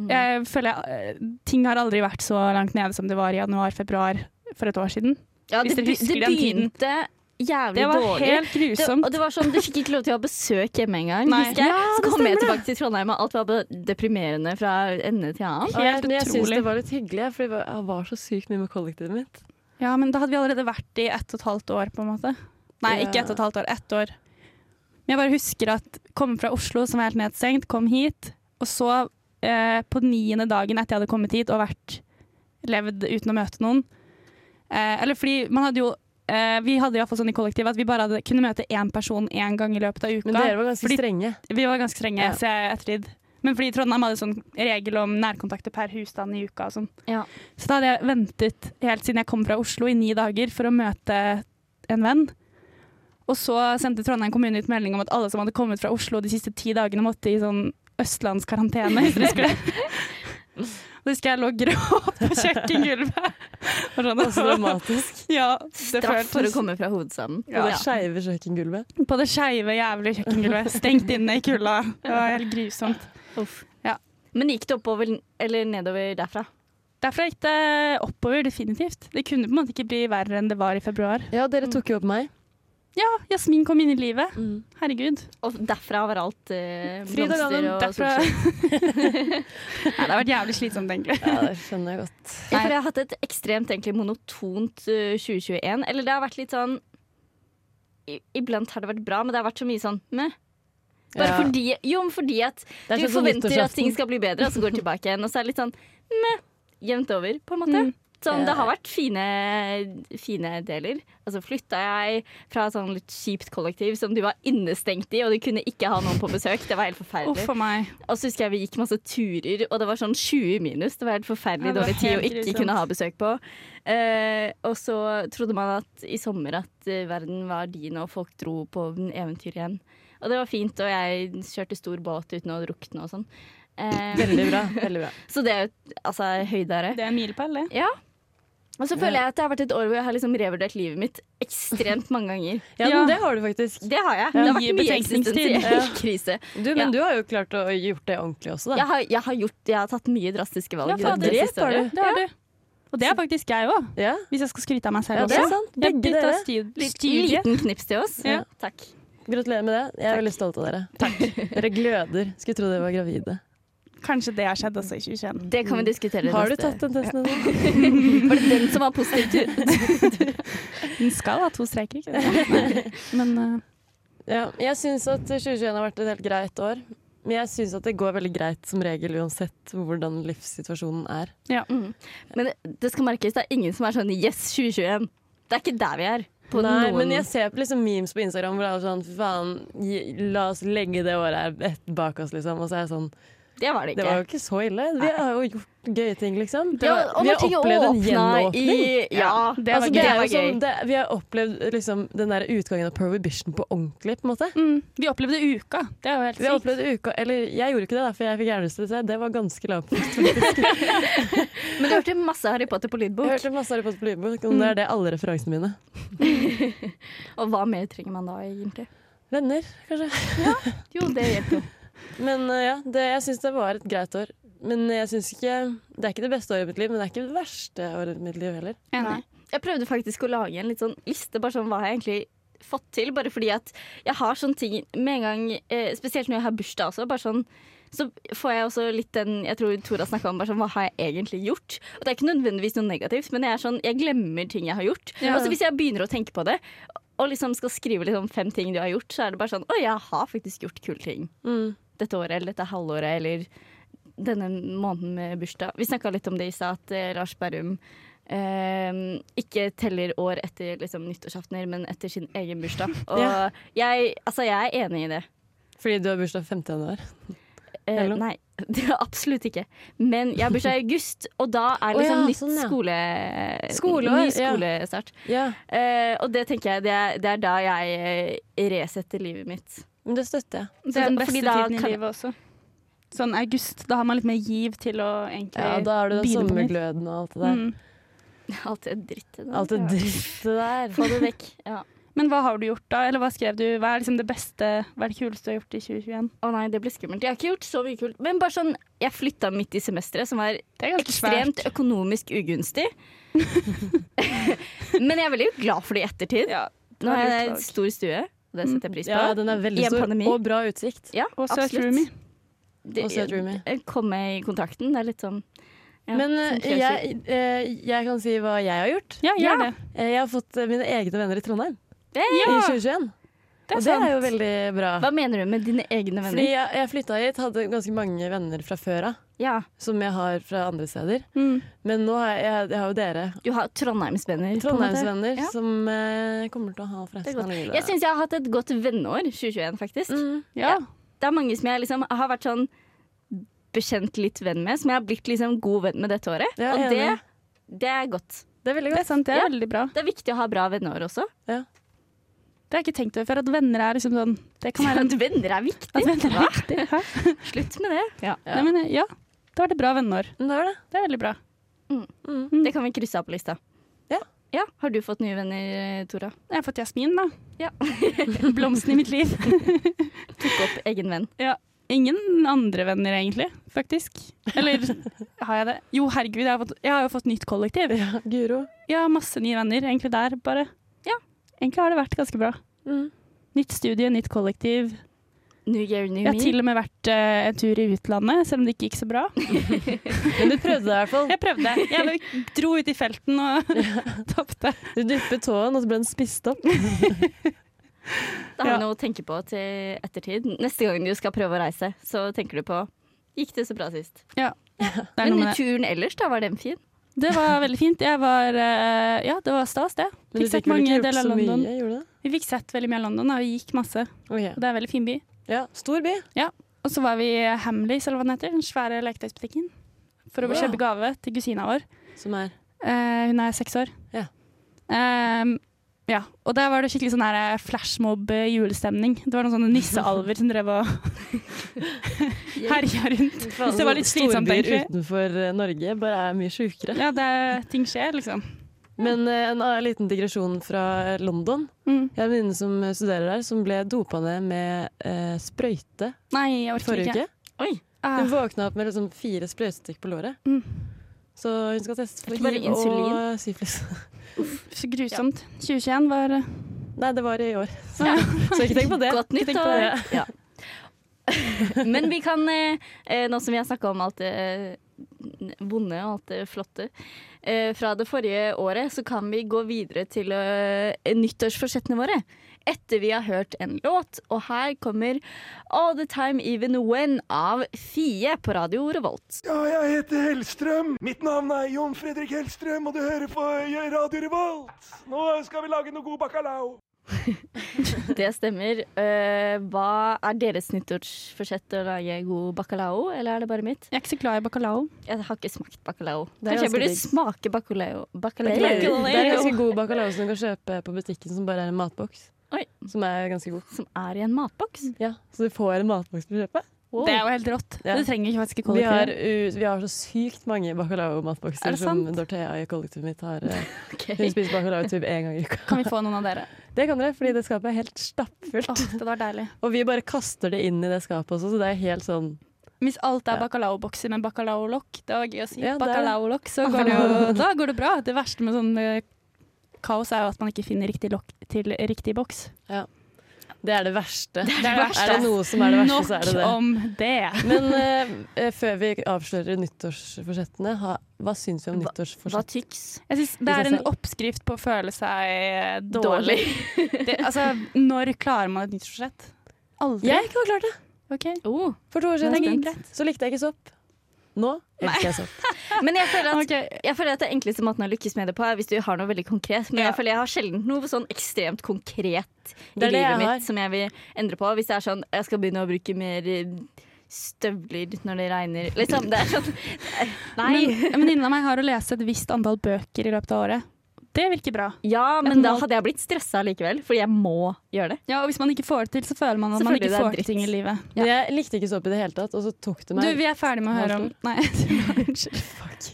Speaker 1: Mm.
Speaker 2: Jeg føler jeg, eh, Ting har aldri vært så langt nede som det var i januar-februar for et år siden.
Speaker 1: Ja,
Speaker 2: hvis
Speaker 1: det,
Speaker 2: dere
Speaker 1: be-
Speaker 2: husker
Speaker 1: det
Speaker 2: den tiden.
Speaker 1: begynte jævlig
Speaker 2: Det var
Speaker 1: dårlig.
Speaker 2: helt
Speaker 1: det,
Speaker 2: grusomt.
Speaker 1: og det var sånn, Du fikk ikke lov til å ha besøk hjemme engang.
Speaker 2: Nei.
Speaker 1: husker jeg.
Speaker 2: Ja,
Speaker 1: så kom
Speaker 2: det
Speaker 1: jeg
Speaker 2: stemmer
Speaker 1: tilbake til Trondheim, og alt var bare deprimerende fra ende til annen.
Speaker 3: Og jeg-
Speaker 2: Helt
Speaker 3: Men jeg syns
Speaker 2: utrolig.
Speaker 3: det var litt hyggelig, for jeg var- jeg var så sykt mye med kollektivet mitt.
Speaker 2: Ja, men da hadde vi allerede vært i ett og et halvt år, på en måte. Nei, ikke ett og et halvt år, ett år. Men jeg bare husker at komme fra Oslo, som var helt nedstengt, kom hit, og så eh, på niende dagen etter jeg hadde kommet hit og vært levd uten å møte noen eh, Eller fordi man hadde jo eh, Vi hadde iallfall sånn i kollektivet at vi bare hadde, kunne møte én person én gang i løpet av uka.
Speaker 3: Men dere var ganske
Speaker 2: Fordi-
Speaker 3: strenge.
Speaker 2: Vi var ganske strenge,
Speaker 3: Ja.
Speaker 2: så jeg ettertid. Men fordi Trondheim hadde sånn regel om nærkontakter per husstand i uka og sånn.
Speaker 1: Ja.
Speaker 2: Så da hadde jeg ventet helt siden jeg kom fra Oslo i ni dager for å møte en venn. Og så sendte Trondheim kommune ut melding om at alle som hadde kommet fra Oslo de siste ti dagene måtte i sånn østlandskarantene, hvis dere husker det. Og Da husker jeg jeg lå og gråt på kjøkkengulvet. Og sånn-
Speaker 3: Og så Altså, dramatisk.
Speaker 2: Ja, det
Speaker 1: Straff for å
Speaker 2: føltes
Speaker 1: komme fra hovedstaden.
Speaker 3: På det skeive kjøkkengulvet.
Speaker 2: på det skeive, jævlig kjøkkengulvet. Stengt inne i kulda. Det var helt grusomt.
Speaker 1: Uff.
Speaker 2: Ja.
Speaker 1: Men gikk det oppover eller nedover derfra?
Speaker 2: Derfra gikk det oppover, definitivt. Det kunne på en måte ikke bli verre enn det var i februar.
Speaker 3: Ja, dere tok jo opp meg.
Speaker 2: Ja, Jasmin kom inn i livet.
Speaker 3: Mm.
Speaker 2: Herregud.
Speaker 1: Og derfra var alt eh,
Speaker 2: Fryd og
Speaker 1: blomster
Speaker 2: gammen,
Speaker 1: og
Speaker 2: derfra.
Speaker 1: solskinn.
Speaker 2: Nei, det har vært jævlig slitsomt, egentlig.
Speaker 3: Ja, det skjønner jeg godt.
Speaker 1: Ja, for jeg har hatt et ekstremt egentlig, monotont eh, 2021. Eller det har vært litt sånn i- Iblant har det vært bra, men det har vært så mye sånn meh. Bare
Speaker 3: Ja.
Speaker 1: fordi, jo, men fordi at
Speaker 3: Det er
Speaker 1: du
Speaker 3: sånn som
Speaker 1: forventer at
Speaker 3: nyttårsaften.
Speaker 1: ting skal bli bedre, og så går det tilbake igjen. Og så er det litt sånn meh, jevnt over, på en måte.
Speaker 2: Mm.
Speaker 1: Sånn, det
Speaker 3: Ja.
Speaker 1: har vært fine, fine deler. Altså flytta jeg fra et sånn litt kjipt kollektiv som du var innestengt i, og du kunne ikke ha noen på besøk. Det var helt forferdelig.
Speaker 2: Uff a meg.
Speaker 1: Og så husker jeg vi gikk masse turer, og det var sånn 20 minus. Det var helt forferdelig
Speaker 2: Ja, det var
Speaker 1: dårlig tid å
Speaker 2: helt
Speaker 1: ikke
Speaker 2: grusomt.
Speaker 1: kunne ha besøk på. Eh, og så trodde man at i sommer at eh, verden var din, og folk dro på en eventyr igjen. Og det var fint, og jeg kjørte stor båt uten å drukne og sånn. Eh,
Speaker 3: Veldig bra. veldig bra.
Speaker 1: så det er jo altså høydere.
Speaker 2: Det er en milepæl, det.
Speaker 1: Ja. Og så føler jeg at det har vært et år hvor jeg har liksom revurdert livet mitt ekstremt mange ganger.
Speaker 3: Ja,
Speaker 2: Ja.
Speaker 3: men det har du faktisk.
Speaker 1: Det har jeg. Det har
Speaker 2: Mye
Speaker 1: vært mye
Speaker 2: betenkningstid.
Speaker 1: eksistensiell krise.
Speaker 3: Du, men du har jo klart å gjort det ordentlig også, da.
Speaker 1: Jeg har, jeg har, gjort, jeg har tatt mye drastiske valg.
Speaker 2: Ja,
Speaker 1: i
Speaker 2: fader,
Speaker 1: det
Speaker 2: det
Speaker 1: siste
Speaker 2: har
Speaker 1: året.
Speaker 2: du. Det har du. Og det er faktisk jeg òg,
Speaker 3: Ja,
Speaker 2: hvis jeg skal skryte av meg selv
Speaker 3: ja det
Speaker 2: også.
Speaker 3: er sant.
Speaker 2: Jeg
Speaker 3: Begge
Speaker 2: bytta
Speaker 3: dere.
Speaker 2: stu-
Speaker 1: Litt
Speaker 2: studie.
Speaker 1: liten knips til oss.
Speaker 2: Ja.
Speaker 1: Takk.
Speaker 3: Gratulerer med det. Jeg er veldig stolt av dere. Dere gløder. Skulle tro dere var gravide.
Speaker 2: Kanskje det har skjedd også i 2021.
Speaker 1: Det kan vi diskutere
Speaker 3: Har du
Speaker 1: neste-
Speaker 3: tatt den testen? Ja.
Speaker 1: Var det den som var positiv tur?
Speaker 2: Den skal ha to streker, ikke sant? Men eh,
Speaker 3: Ja, jeg syns at 2021 har vært et helt greit år. Men jeg syns at det går veldig greit som regel, uansett hvordan livssituasjonen er.
Speaker 2: ja.
Speaker 1: Men det skal merkes, det er ingen som er sånn Yes, 2021. Det er ikke der vi er. På
Speaker 3: Nei,
Speaker 1: noen
Speaker 3: men jeg ser på liksom memes på Instagram hvor det er sånn Fy faen, gi- la oss legge det året her et- bak oss, liksom. Og så er jeg sånn
Speaker 1: Det var det ikke.
Speaker 3: Det var jo ikke så ille. Vi har jo gjort gøye ting, liksom. Det
Speaker 1: ja,
Speaker 3: var-
Speaker 1: og
Speaker 3: vi
Speaker 1: når
Speaker 3: har
Speaker 1: ting
Speaker 3: opplevd en
Speaker 1: åpna i
Speaker 3: gjenåpning.
Speaker 1: Ja,
Speaker 2: det var
Speaker 3: Altså,
Speaker 2: gøy.
Speaker 3: det
Speaker 1: det
Speaker 3: er jo
Speaker 1: var gøy.
Speaker 3: sånn, det, vi har opplevd liksom, den der utgangen av Prohibition på ordentlig. på en måte.
Speaker 2: Mm, vi opplevde uka. Det er jo helt
Speaker 3: Vi har
Speaker 2: sykt.
Speaker 3: opplevd uka, eller Jeg gjorde ikke det, da, for jeg fikk hjernerystelse. Det var ganske lavt.
Speaker 1: Men du hørte masse Harry Potter på
Speaker 3: Jeg
Speaker 1: lydbok.
Speaker 3: hørte masse Harry Potter på lydbok, og det er det alle referansene mine.
Speaker 1: Og hva mer trenger man da, egentlig?
Speaker 3: Venner, kanskje.
Speaker 1: Jo, det hjelper jo.
Speaker 3: Men eh, ja, det, jeg syns det var et greit år. Men jeg synes ikke, Det er ikke det beste året i mitt liv, men det er ikke det verste året i mitt liv heller.
Speaker 2: Enig.
Speaker 1: Jeg prøvde faktisk å lage en litt sånn liste, bare sånn hva har jeg egentlig fått til. Bare fordi at jeg har sånne ting med en gang, eh, spesielt når jeg har bursdag også, bare sånn så får jeg også litt den Jeg tror Tora snakka om bare sånn, hva har jeg egentlig gjort. Og det er ikke nødvendigvis noe negativt, men jeg, er sånn, jeg glemmer ting jeg har gjort.
Speaker 2: Ja.
Speaker 1: Og så hvis jeg begynner å tenke på det, og liksom skal skrive liksom fem ting du har gjort, så er det bare sånn Å, jeg har faktisk gjort kule ting
Speaker 3: Mm.
Speaker 1: dette året eller dette halvåret eller denne måneden med bursdag. Vi snakka litt om det i stad, at eh, Lars Berrum eh, ikke teller år etter liksom, nyttårsaftener, men etter sin egen bursdag. Og
Speaker 3: Ja.
Speaker 1: jeg, altså, jeg er enig i det.
Speaker 3: Fordi du har bursdag 5. januar.
Speaker 1: Eh,
Speaker 3: Hello?
Speaker 1: nei, det er absolutt ikke. Men jeg har bursdag i august, og da er
Speaker 3: Å
Speaker 1: liksom
Speaker 3: ja,
Speaker 1: nytt
Speaker 3: sånn, ja.
Speaker 1: skole...
Speaker 3: Skoleår,
Speaker 1: ny
Speaker 3: ja.
Speaker 1: skolestart.
Speaker 3: Ja,
Speaker 1: Eh, og det tenker jeg, det er, det er da jeg eh, resetter livet mitt.
Speaker 3: men det støtter jeg.
Speaker 2: Det er den beste
Speaker 1: fordi da
Speaker 2: tiden i
Speaker 1: kan-
Speaker 2: livet også. Sånn august, da har man litt mer giv til å egentlig
Speaker 3: Ja, da har du den
Speaker 2: begynne på nytt.
Speaker 3: sommergløden og alt det der.
Speaker 2: Mm.
Speaker 1: Alt det drittet. der.
Speaker 3: Alt det drittet der.
Speaker 1: Få det vekk. Ja.
Speaker 2: Men hva har du gjort da? Eller hva skrev du? Hva er liksom det beste, hva er det kuleste du har gjort i 2021?
Speaker 1: Å nei, det ble skummelt. Jeg har ikke gjort så mye kult. Men bare sånn, jeg flytta midt i semesteret, som var
Speaker 2: Det er ganske
Speaker 1: ekstremt økonomisk ugunstig. Men jeg er veldig glad for det i ettertid.
Speaker 2: Ja,
Speaker 1: Nå har jeg
Speaker 2: lurt
Speaker 1: en
Speaker 2: valg.
Speaker 1: stor stue, og det setter jeg pris på.
Speaker 3: Mm, Ja, den er
Speaker 1: I
Speaker 3: veldig
Speaker 1: en
Speaker 3: stor.
Speaker 1: pandemi.
Speaker 3: Og bra utsikt.
Speaker 1: Ja,
Speaker 2: Og søt
Speaker 1: absolutt.
Speaker 2: roomie.
Speaker 1: Det-
Speaker 3: Og søt roomie.
Speaker 1: eh, Komme i kontakten, det er litt sånn ja,
Speaker 3: Men eh,
Speaker 1: sånn
Speaker 3: jeg, eh, jeg kan si hva jeg har gjort.
Speaker 2: Ja, gjør det.
Speaker 3: Eh, Jeg har fått eh, mine egne venner i Trondheim
Speaker 1: Hey!
Speaker 3: i 2021.
Speaker 2: Det
Speaker 3: og
Speaker 2: er
Speaker 3: det er
Speaker 2: sant.
Speaker 3: jo veldig bra.
Speaker 1: Hva mener du med dine egne venner?
Speaker 3: Fordi jeg, jeg flytta hit, hadde ganske mange venner fra før av.
Speaker 1: ja,
Speaker 3: Som jeg har fra andre steder.
Speaker 2: Mm.
Speaker 3: Men nå har jeg, jeg, jeg har jo dere,
Speaker 1: du har Trondheimsvenner. på en måte.
Speaker 3: Trondheimsvenner,
Speaker 1: Ja.
Speaker 3: som eh, kommer til å ha
Speaker 1: Det er
Speaker 3: forresten
Speaker 1: godt.
Speaker 3: av livet.
Speaker 1: Jeg syns jeg har hatt et godt venneår 2021, faktisk.
Speaker 3: Mm.
Speaker 2: Ja.
Speaker 1: Det er mange som jeg liksom har vært sånn bekjent litt venn med, som jeg har blitt liksom god venn med dette året.
Speaker 3: Ja,
Speaker 1: og
Speaker 3: jeg er
Speaker 1: det, det er godt.
Speaker 3: Det er veldig
Speaker 2: Det
Speaker 3: godt.
Speaker 2: er sant, det er
Speaker 1: Ja.
Speaker 2: veldig bra.
Speaker 1: Det er viktig å ha bra venneår også.
Speaker 2: Det har jeg ikke tenkt over før, at venner er liksom sånn Det kan være en
Speaker 1: At venner er viktig.
Speaker 2: At venner er
Speaker 1: Hva?
Speaker 2: viktig. Hæ?
Speaker 1: Slutt med det.
Speaker 2: Nei, men, ja, da var det bra venneår.
Speaker 3: Men Mm, Det er det.
Speaker 2: Det er veldig bra.
Speaker 1: Det kan vi krysse av på lista.
Speaker 3: Ja.
Speaker 1: ja. Har du fått nye venner, Tora?
Speaker 2: Jeg har fått Jasmin, da.
Speaker 1: Ja.
Speaker 2: Blomsten i mitt liv.
Speaker 1: Tok opp egen venn.
Speaker 2: Ingen andre venner, egentlig. Faktisk. Eller har jeg det? Jo, herregud, jeg har, fått, jeg har jo fått nytt kollektiv.
Speaker 3: Ja, Guro.
Speaker 2: Jeg har masse nye venner, egentlig der, bare.
Speaker 1: Ja.
Speaker 2: Egentlig har det vært ganske bra.
Speaker 3: Mm.
Speaker 2: Nytt studie, nytt kollektiv.
Speaker 1: New year, new
Speaker 2: Jeg har
Speaker 1: me.
Speaker 2: til og med vært eh, en tur i utlandet, selv om det ikke gikk så bra.
Speaker 3: Men du prøvde deg i hvert fall.
Speaker 2: Jeg prøvde. Jeg dro ut i felten og tapte.
Speaker 3: Du dyppet tåen, og så ble den spist opp.
Speaker 1: Det har
Speaker 2: Ja.
Speaker 1: du noe å tenke på til ettertid. Neste gang du skal prøve å reise, så tenker du på Gikk det så bra sist?
Speaker 2: Det, er noe
Speaker 1: Men
Speaker 2: med det.
Speaker 1: turen ellers, da, var den fin?
Speaker 2: det var veldig fint. Jeg var eh, Ja, det var stas, det.
Speaker 3: Men
Speaker 2: Fikk
Speaker 3: du fikk
Speaker 2: sett
Speaker 3: vel
Speaker 2: mange
Speaker 3: ikke gjort
Speaker 2: deler av
Speaker 3: så
Speaker 2: London.
Speaker 3: mye, gjorde du det?
Speaker 2: Vi fikk sett veldig mye av London, da. Vi gikk masse.
Speaker 3: Ok.
Speaker 2: Og det er en veldig fin by.
Speaker 3: Ja, stor by.
Speaker 2: Og så var vi i Hamleys, eller hva den heter, den svære leketøysbutikken, for å
Speaker 3: Wow.
Speaker 2: kjøpe gave til kusina vår.
Speaker 3: Som er
Speaker 2: Eh, hun er seks år.
Speaker 3: Ja.
Speaker 2: Ehm, ja. Og der var det skikkelig sånn her, eh, flashmob-julestemning. Det var noen sånne nissealver som drev og herja rundt. Hvis det var litt slitsomt,
Speaker 3: Storbyer
Speaker 2: egentlig.
Speaker 3: utenfor eh, Norge bare er mye sjukere.
Speaker 2: Ja, det er, ting skjer, liksom.
Speaker 3: Men eh, en annen liten digresjon fra London.
Speaker 2: Mm.
Speaker 3: Jeg har en venninne som studerer der, som ble dopa ned med eh, sprøyte
Speaker 2: Nei, jeg
Speaker 3: i
Speaker 2: orker
Speaker 3: forrige
Speaker 2: ikke.
Speaker 3: uke. Hun
Speaker 2: Ah,
Speaker 3: våkna opp med liksom fire sprøytestikk på låret.
Speaker 2: Mm.
Speaker 3: Så hun skal teste for
Speaker 1: ikke bare
Speaker 3: hiv
Speaker 1: insulin.
Speaker 3: og syfilis.
Speaker 2: så grusomt. 2021 var eh,
Speaker 3: Nei, det var i år. Så, så ikke tenk på det.
Speaker 1: Godt nytt
Speaker 3: Ikke tenk på
Speaker 1: år!
Speaker 3: det.
Speaker 1: Ja. Men vi kan, eh, eh, nå som vi har snakka om alt det eh, vonde og alt det flotte eh, fra det forrige året, så kan vi gå videre til eh, nyttårsforsettene våre. Etter vi har hørt en låt, og her kommer All The Time Even When av Fie på radio Revolt.
Speaker 4: Ja, jeg heter Hellstrøm. Mitt navn er Jon Fredrik Hellstrøm, og du hører på Radio Revolt. Nå skal vi lage noe god bacalao.
Speaker 1: Det stemmer. Eh, hva er deres nyttårsforsett å lage god bacalao, eller er det bare mitt?
Speaker 2: Jeg er ikke så glad i bacalao.
Speaker 1: Jeg har ikke smakt bacalao.
Speaker 3: Det er
Speaker 1: Kanskje jeg
Speaker 3: ganske
Speaker 1: burde
Speaker 3: digg.
Speaker 1: smake bacalao. Bacalao.
Speaker 3: Det er en ganske god bacalao som du kan kjøpe på butikken, som bare er en matboks.
Speaker 1: Oi.
Speaker 3: Som er ganske god.
Speaker 1: Som er i en matboks.
Speaker 3: Ja, så du får en matboks på kjøpet.
Speaker 1: Wow.
Speaker 2: Det er jo helt rått.
Speaker 3: Ja.
Speaker 2: Det trenger ikke faktisk
Speaker 3: Vi har,
Speaker 2: kollektivet.
Speaker 3: uh, vi har så sykt mange
Speaker 2: Er
Speaker 3: bacalao-matbokser
Speaker 2: det
Speaker 3: som
Speaker 2: sant?
Speaker 3: Dorthea i kollektivet mitt har. eh,
Speaker 1: Ok.
Speaker 3: Hun spiser bacalao typ én gang i uka.
Speaker 2: Kan vi få noen av dere?
Speaker 3: Det kan dere, fordi det skapet er helt stappfullt.
Speaker 2: Mm. Åh, det var deilig.
Speaker 3: Og vi bare kaster det inn i det skapet også, så det er helt sånn
Speaker 2: Hvis alt er
Speaker 3: Ja.
Speaker 2: bacalaobokser med bacalaolokk, det var gøy å si,
Speaker 3: Ja, det er det.
Speaker 2: bacalaolokk, så går det jo, da går det bra. Det verste med sånn eh, kaos er jo at man ikke finner riktig lokk til riktig boks.
Speaker 3: Det er det verste.
Speaker 2: Det er det verste.
Speaker 3: Er det noe som er det verste,
Speaker 2: Nok
Speaker 3: så er det det.
Speaker 2: om det.
Speaker 3: Men eh, eh, før vi avslører nyttårsforsettene, ha, hva syns vi om
Speaker 1: Hva- Hva
Speaker 3: nyttårsforsett?
Speaker 1: tyks?
Speaker 2: Jeg synes det
Speaker 3: I seg
Speaker 2: er en
Speaker 3: selv.
Speaker 2: oppskrift på å føle seg eh, dårlig. Det, altså, når klarer man et nyttårsforsett? Aldri?
Speaker 3: Jeg ikke har klart det!
Speaker 2: Ok,
Speaker 1: Oh.
Speaker 3: For to år
Speaker 2: det er
Speaker 3: siden
Speaker 2: greit.
Speaker 3: så likte jeg ikke sopp. Nå elsker jeg sopp.
Speaker 1: Men jeg føler, at,
Speaker 2: Ok.
Speaker 1: jeg føler at det enkleste måten å lykkes med det på, er hvis du har noe veldig konkret. Men
Speaker 2: Ja.
Speaker 1: jeg føler jeg har sjelden noe sånn ekstremt konkret i
Speaker 3: Det er
Speaker 1: livet
Speaker 3: det jeg
Speaker 1: mitt
Speaker 3: har.
Speaker 1: som jeg vil endre på. Hvis det er sånn jeg skal begynne å bruke mer eh, støvler når det regner. Liksom, det er sånn Nei.
Speaker 2: Men en venninne av meg har å lese et visst antall bøker i løpet av året. Det virker bra.
Speaker 1: ja, men
Speaker 2: Jeg
Speaker 1: da
Speaker 2: må-
Speaker 1: hadde jeg blitt stressa likevel, fordi jeg må gjøre det.
Speaker 2: Ja, Og hvis man ikke får det til, så føler man at man
Speaker 1: Selvfølgelig,
Speaker 2: ikke
Speaker 1: det er
Speaker 2: får
Speaker 1: dritt.
Speaker 2: ting i livet.
Speaker 3: Men jeg likte ikke såpe i det hele tatt, og så tok det
Speaker 2: Du,
Speaker 3: meg
Speaker 2: vi er ferdig med å høre om Nei, unnskyld.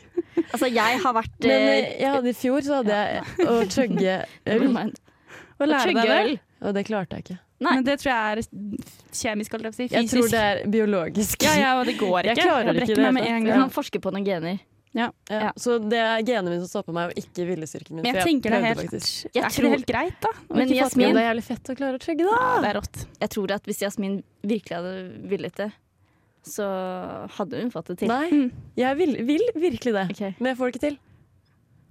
Speaker 1: Altså, jeg har vært
Speaker 3: Men
Speaker 1: eh,
Speaker 3: eh, jeg hadde i fjor så hadde jeg å chugge
Speaker 1: never
Speaker 3: øl,
Speaker 1: mind.
Speaker 2: Å lære deg
Speaker 1: Chugge
Speaker 2: det.
Speaker 1: øl.
Speaker 3: og det klarte jeg ikke.
Speaker 1: Nei.
Speaker 2: Men det tror jeg er kjemisk, holdt jeg på å si.
Speaker 3: Jeg tror
Speaker 2: Fysisk.
Speaker 3: det er biologisk.
Speaker 2: Ja, ja, og det går
Speaker 3: Jeg
Speaker 2: ikke.
Speaker 3: klarer det altså. ikke i
Speaker 2: brekker
Speaker 3: det
Speaker 2: meg med
Speaker 3: hele
Speaker 2: en
Speaker 1: Du
Speaker 2: gang.
Speaker 1: kan forske på noen gener.
Speaker 3: Ja,
Speaker 1: Ja.
Speaker 3: Så det er genene mine som stopper meg, og ikke viljestyrken min.
Speaker 2: Men
Speaker 3: for
Speaker 2: jeg tenker det er
Speaker 3: prøvde
Speaker 2: helt,
Speaker 3: faktisk.
Speaker 2: er ikke
Speaker 1: tror-
Speaker 2: det helt greit, da? å
Speaker 1: Men
Speaker 2: ikke få til
Speaker 1: Jasmin-
Speaker 3: Men det er jævlig fett å klare å chugge, da.
Speaker 2: det er rått.
Speaker 1: Jeg tror at hvis Jasmin virkelig hadde villet det, så hadde hun fått det til.
Speaker 3: Nei, jeg vil, vil virkelig det,
Speaker 1: Mm. Ok.
Speaker 3: men jeg får det ikke til.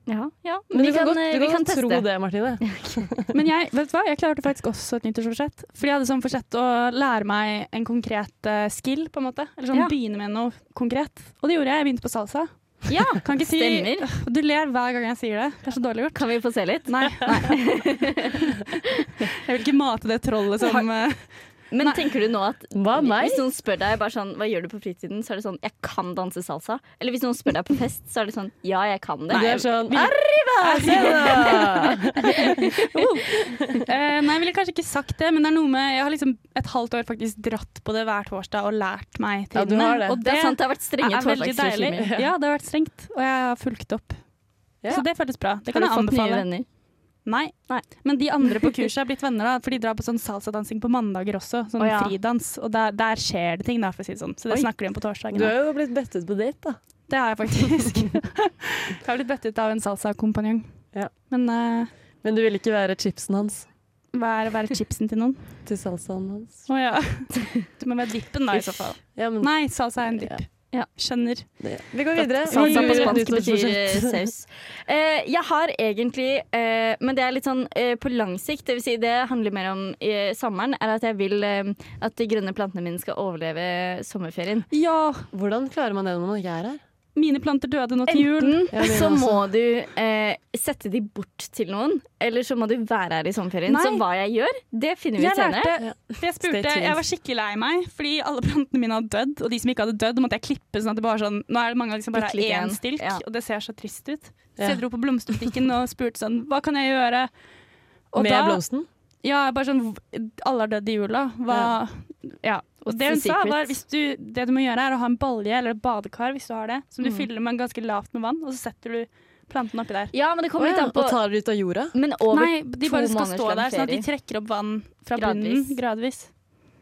Speaker 1: Ja, ja. Men,
Speaker 3: Men
Speaker 1: vi
Speaker 3: du
Speaker 1: kan,
Speaker 3: kan, godt,
Speaker 1: eh,
Speaker 3: du
Speaker 1: vi
Speaker 3: kan,
Speaker 1: kan
Speaker 3: tro
Speaker 1: teste.
Speaker 3: det, Martine.
Speaker 2: Men jeg, vet du hva? jeg klarte faktisk også et nyttårsforsett. Fordi jeg hadde som forsett å lære meg en konkret eh, skill, på en måte. Eller sånn
Speaker 1: Ja.
Speaker 2: begynne med noe konkret. Og det gjorde jeg. Jeg begynte på salsa.
Speaker 1: Ja,
Speaker 2: Kan ikke si
Speaker 1: stemmer.
Speaker 2: Du ler hver gang jeg sier det. Det er så dårlig gjort.
Speaker 1: Kan vi få se litt?
Speaker 2: Nei. jeg vil ikke mate det trollet som eh,
Speaker 1: Men tenker du nå at
Speaker 3: Hva, meg?
Speaker 1: hvis noen spør deg bare sånn, hva gjør du på fritiden, så er det sånn jeg kan danse salsa. Eller hvis noen spør deg på fest, så er det sånn ja, jeg kan det.
Speaker 3: Du er sånn Arriva! Se da!
Speaker 2: Eh, nei, jeg ville kanskje ikke sagt det, men det er noe med Jeg har liksom et halvt år faktisk dratt på det hver torsdag og lært meg
Speaker 3: Ja, du
Speaker 2: trinnene.
Speaker 3: har det.
Speaker 2: Og
Speaker 1: det er sant, det har vært strenge
Speaker 2: er veldig deilig.
Speaker 1: torsdagsregimer.
Speaker 2: Ja, det har vært strengt, og jeg har fulgt opp.
Speaker 3: Ja.
Speaker 2: Så det føltes bra. Det
Speaker 1: Har
Speaker 2: kan
Speaker 1: du
Speaker 2: jeg
Speaker 1: fått nye
Speaker 2: anbefale.
Speaker 1: venner?
Speaker 2: Nei.
Speaker 1: Nei.
Speaker 2: Men de andre på kurset er blitt venner, da, for de drar på sånn salsadansing på mandager også. Sånn
Speaker 1: Å, ja.
Speaker 2: fridans. Og der, der skjer det ting, da, for å si det sånn. Så det
Speaker 1: Oi.
Speaker 2: snakker de om på torsdagen.
Speaker 3: Du har jo blitt bedt ut på date, da.
Speaker 2: Det har jeg faktisk. jeg har blitt bøttet av en salsakompanjong.
Speaker 3: Ja.
Speaker 2: Men eh,
Speaker 3: Men du vil ikke være chipsen hans
Speaker 2: hva er å være chipsen til noen?
Speaker 3: til salsaen hans.
Speaker 2: Å ja. Du må være dippen, da, i så fall.
Speaker 3: Ja, men
Speaker 2: Nei, salsa er en dipp.
Speaker 1: Ja.
Speaker 2: Skjønner.
Speaker 3: det- vi går videre.
Speaker 1: Salsa
Speaker 3: Vi
Speaker 1: på
Speaker 3: går
Speaker 1: spansk
Speaker 3: videre.
Speaker 1: betyr eh, saus. Eh, jeg har egentlig, eh, men det er litt sånn eh, på lang sikt, det vil si det handler mer om eh, sommeren, er at jeg vil eh, at de grønne plantene mine skal overleve sommerferien.
Speaker 2: Ja,
Speaker 3: Hvordan klarer man det når man ikke er her?
Speaker 2: mine planter døde nå til jul.
Speaker 1: Enten
Speaker 3: Ja, det er
Speaker 1: så
Speaker 3: også.
Speaker 1: må du eh, sette de bort til noen, eller så må du være her i sommerferien.
Speaker 2: Nei.
Speaker 1: Så hva jeg gjør, det finner vi
Speaker 2: Jeg
Speaker 1: ut senere.
Speaker 2: lærte, for jeg
Speaker 3: Stay
Speaker 2: spurte,
Speaker 3: tuned.
Speaker 2: jeg var skikkelig lei meg, fordi alle plantene mine hadde dødd, og de som ikke hadde dødd, måtte jeg klippe, sånn at det bare sånn, nå er det mange liksom bare
Speaker 1: Bitte litt
Speaker 2: én
Speaker 1: igjen.
Speaker 2: stilk,
Speaker 1: Ja.
Speaker 2: og det ser så trist ut. Så
Speaker 3: Ja.
Speaker 2: jeg dro på blomsterbutikken og spurte sånn, hva kan jeg gjøre? Og
Speaker 3: Med
Speaker 2: da-
Speaker 3: blomsten?
Speaker 2: Ja, bare sånn, "Hvor- alle har dødd i jula. Hva, ja. Og
Speaker 1: What's
Speaker 2: det hun
Speaker 1: the
Speaker 2: sa
Speaker 1: secret?
Speaker 2: var, hvis du, det du må gjøre er å ha en balje eller et badekar, hvis du har det, som du
Speaker 1: Mm.
Speaker 2: fyller med ganske lavt med vann, og så setter du planten oppi der.
Speaker 1: Ja, men det kommer
Speaker 3: Å
Speaker 1: litt
Speaker 3: ja,
Speaker 1: an på
Speaker 3: Og tar det ut av jorda?
Speaker 1: Men over
Speaker 2: Nei, de
Speaker 1: to
Speaker 2: bare skal
Speaker 1: måneders
Speaker 2: stå
Speaker 1: lang
Speaker 2: der, sånn at de
Speaker 1: ferie.
Speaker 2: trekker opp vann fra
Speaker 1: Gradvis.
Speaker 2: bunnen gradvis.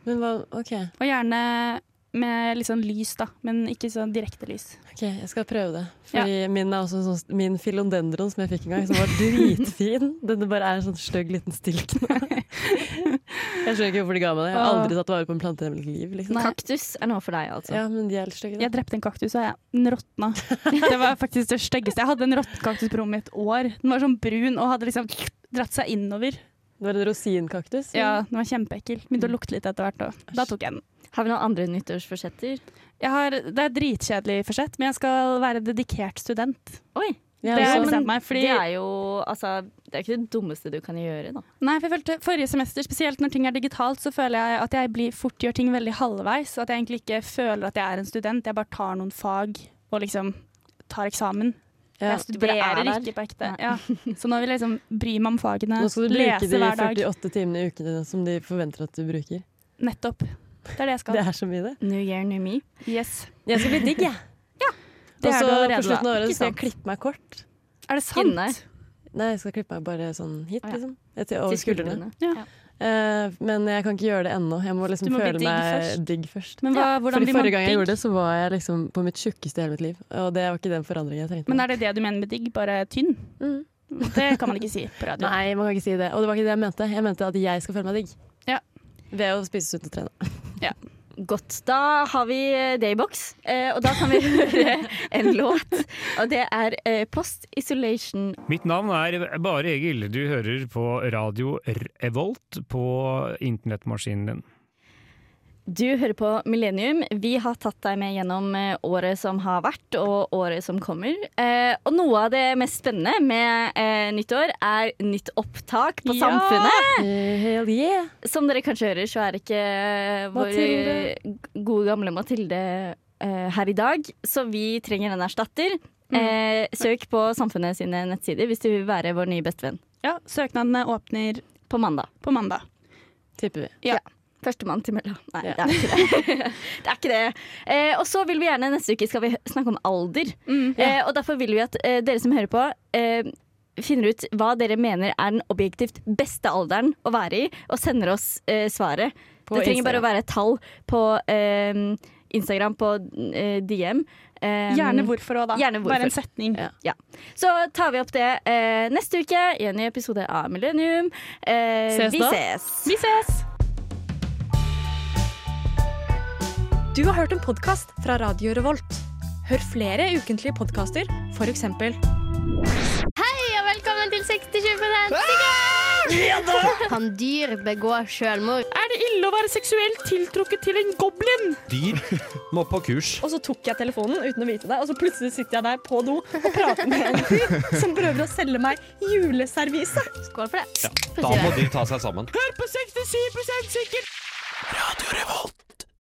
Speaker 3: Men hva, ok,
Speaker 2: Og gjerne med litt sånn lys, da, men ikke sånn direkte lys.
Speaker 3: ok, jeg skal prøve det. Fordi min er også en sånn, min filondendron som jeg fikk en gang, som var dritfin. Den bare er en sånn stygg liten stilk nå. Jeg skjønner ikke hvorfor de ga meg det. Jeg har aldri tatt vare på en plante i mitt liv. Liksom.
Speaker 1: Kaktus er noe for deg, altså.
Speaker 3: Ja, men de er litt stygge. da.
Speaker 2: Jeg drepte en kaktus, og jeg, den råtna. Det var faktisk det styggeste. Jeg hadde en råttenkaktus på rommet i et år. Den var sånn brun og hadde liksom dratt seg innover.
Speaker 3: Det var en rosinkaktus.
Speaker 2: Ja, Den var kjempeekkel. Begynte å lukte litt etter hvert òg. Da tok jeg den.
Speaker 1: Har vi noen andre nyttårsforsetter?
Speaker 2: Jeg har, det er dritkjedelig forsett, men jeg skal være dedikert student.
Speaker 1: Oi!
Speaker 3: Ja,
Speaker 2: Det er
Speaker 1: Ja,
Speaker 3: så-
Speaker 2: bestemt
Speaker 1: men
Speaker 2: meg, fordi-
Speaker 1: Det er jo altså, det er ikke det dummeste du kan gjøre, da.
Speaker 2: Nei, for jeg følte Forrige semester, spesielt når ting er digitalt, så føler jeg at jeg blir fort gjør ting veldig halvveis. og At jeg egentlig ikke føler at jeg er en student, jeg bare tar noen fag og liksom tar eksamen.
Speaker 3: ja.
Speaker 2: jeg
Speaker 1: du bare er
Speaker 2: studerer
Speaker 1: der.
Speaker 2: ikke på ekte.
Speaker 1: Nei.
Speaker 2: Ja. Så nå vil jeg liksom bry meg om fagene,
Speaker 3: Nå skal du bruke
Speaker 2: eh, lese
Speaker 3: de
Speaker 2: hver dag.
Speaker 3: 48 timene i uken dine som de forventer at du bruker.
Speaker 2: Nettopp. Det er det jeg
Speaker 3: Det
Speaker 2: skal.
Speaker 3: er så mye, det.
Speaker 1: New year, new me.
Speaker 2: Yes.
Speaker 3: Jeg skal bli digg, jeg.
Speaker 2: Det
Speaker 3: Og
Speaker 2: er
Speaker 3: så
Speaker 2: det
Speaker 3: på
Speaker 2: allerede,
Speaker 3: slutten av
Speaker 2: da.
Speaker 3: året
Speaker 2: Ikke
Speaker 3: skal jeg
Speaker 2: sant?
Speaker 3: klippe meg kort.
Speaker 2: Er det sant?
Speaker 1: Inne.
Speaker 3: Nei, jeg skal klippe meg bare sånn hit,
Speaker 1: Å, ja.
Speaker 3: liksom. Jeg Til over
Speaker 1: Til
Speaker 3: skuldrene.
Speaker 1: skuldrene.
Speaker 3: Eh, men jeg kan ikke gjøre det ennå. Jeg må liksom
Speaker 2: Du må bli
Speaker 3: føle
Speaker 2: digg
Speaker 3: meg
Speaker 2: først.
Speaker 3: digg først.
Speaker 2: Men hva, hvordan
Speaker 3: Fordi
Speaker 2: blir man
Speaker 3: Forrige gang jeg
Speaker 2: digg?
Speaker 3: gjorde det, så var jeg liksom på mitt tjukkeste i hele mitt liv. Og det var ikke den forandringen jeg trengte.
Speaker 2: Men er det det du mener med digg, bare tynn?
Speaker 3: Mm.
Speaker 2: Det kan man ikke si på radio.
Speaker 3: Nei, man kan ikke si det. Og det var ikke det jeg mente. Jeg mente at jeg skal føle meg digg.
Speaker 2: Ja.
Speaker 3: Ved å spise sunt og trene.
Speaker 1: Godt. Da har vi eh, det i boks, eh, og da kan vi høre en låt. Og det er eh, Post Isolation
Speaker 10: Mitt navn er Bare Egil. Du hører på radio Revolt på internettmaskinen din.
Speaker 1: Du hører på Millennium. Vi har tatt deg med gjennom eh, året som har vært, og året som kommer. Eh, og noe av det mest spennende med eh, nytt år er nytt opptak på
Speaker 2: Ja!
Speaker 1: Samfunnet.
Speaker 3: Hell yeah.
Speaker 1: Som dere kanskje hører, så er ikke eh, vår
Speaker 3: Mathilde.
Speaker 1: eh, gode gamle Mathilde eh, her i dag, så vi trenger en erstatter. Eh, søk på Samfunnet sine nettsider hvis du vil være vår nye bestevenn
Speaker 2: Ja, søknadene åpner
Speaker 1: på mandag.
Speaker 2: på mandag.
Speaker 3: Tipper vi.
Speaker 1: Førstemann til mølla. Nei,
Speaker 3: Ja.
Speaker 1: det er ikke det. det, er ikke det. Eh, og så vil vi gjerne neste uke skal vi hø- snakke om alder.
Speaker 3: Mm,
Speaker 1: Eh, og derfor vil vi at eh, dere som hører på, eh, finner ut hva dere mener er den objektivt beste alderen å være i, og sender oss eh, svaret.
Speaker 3: På
Speaker 1: det trenger
Speaker 3: Instagram.
Speaker 1: bare å være et tall på eh, Instagram, på eh, DM. Eh,
Speaker 2: Gjerne hvorfor òg, da.
Speaker 1: Gjerne hvorfor.
Speaker 2: Bare en setning.
Speaker 3: Ja.
Speaker 1: Så tar vi opp det eh, neste uke i en ny episode av Millennium. Eh,
Speaker 3: Ses
Speaker 1: vi
Speaker 3: da.
Speaker 1: ses.
Speaker 2: Vi ses!
Speaker 11: Du har hørt en podkast fra Radio Revolt. Hør flere ukentlige podkaster, f.eks.
Speaker 8: Hei og velkommen til 60-20 Kan dyr begå selvmord?
Speaker 2: Er det ille å være seksuelt tiltrukket til en goblin?
Speaker 12: Dyr må på kurs.
Speaker 11: Og så tok jeg telefonen uten å vite det, og så plutselig sitter jeg der på do og prater med en fyr som prøver å selge meg juleservise.
Speaker 8: Skål for det.
Speaker 12: Da må de ta seg sammen.
Speaker 9: Hør på 67 sikkert! Radio Revolt.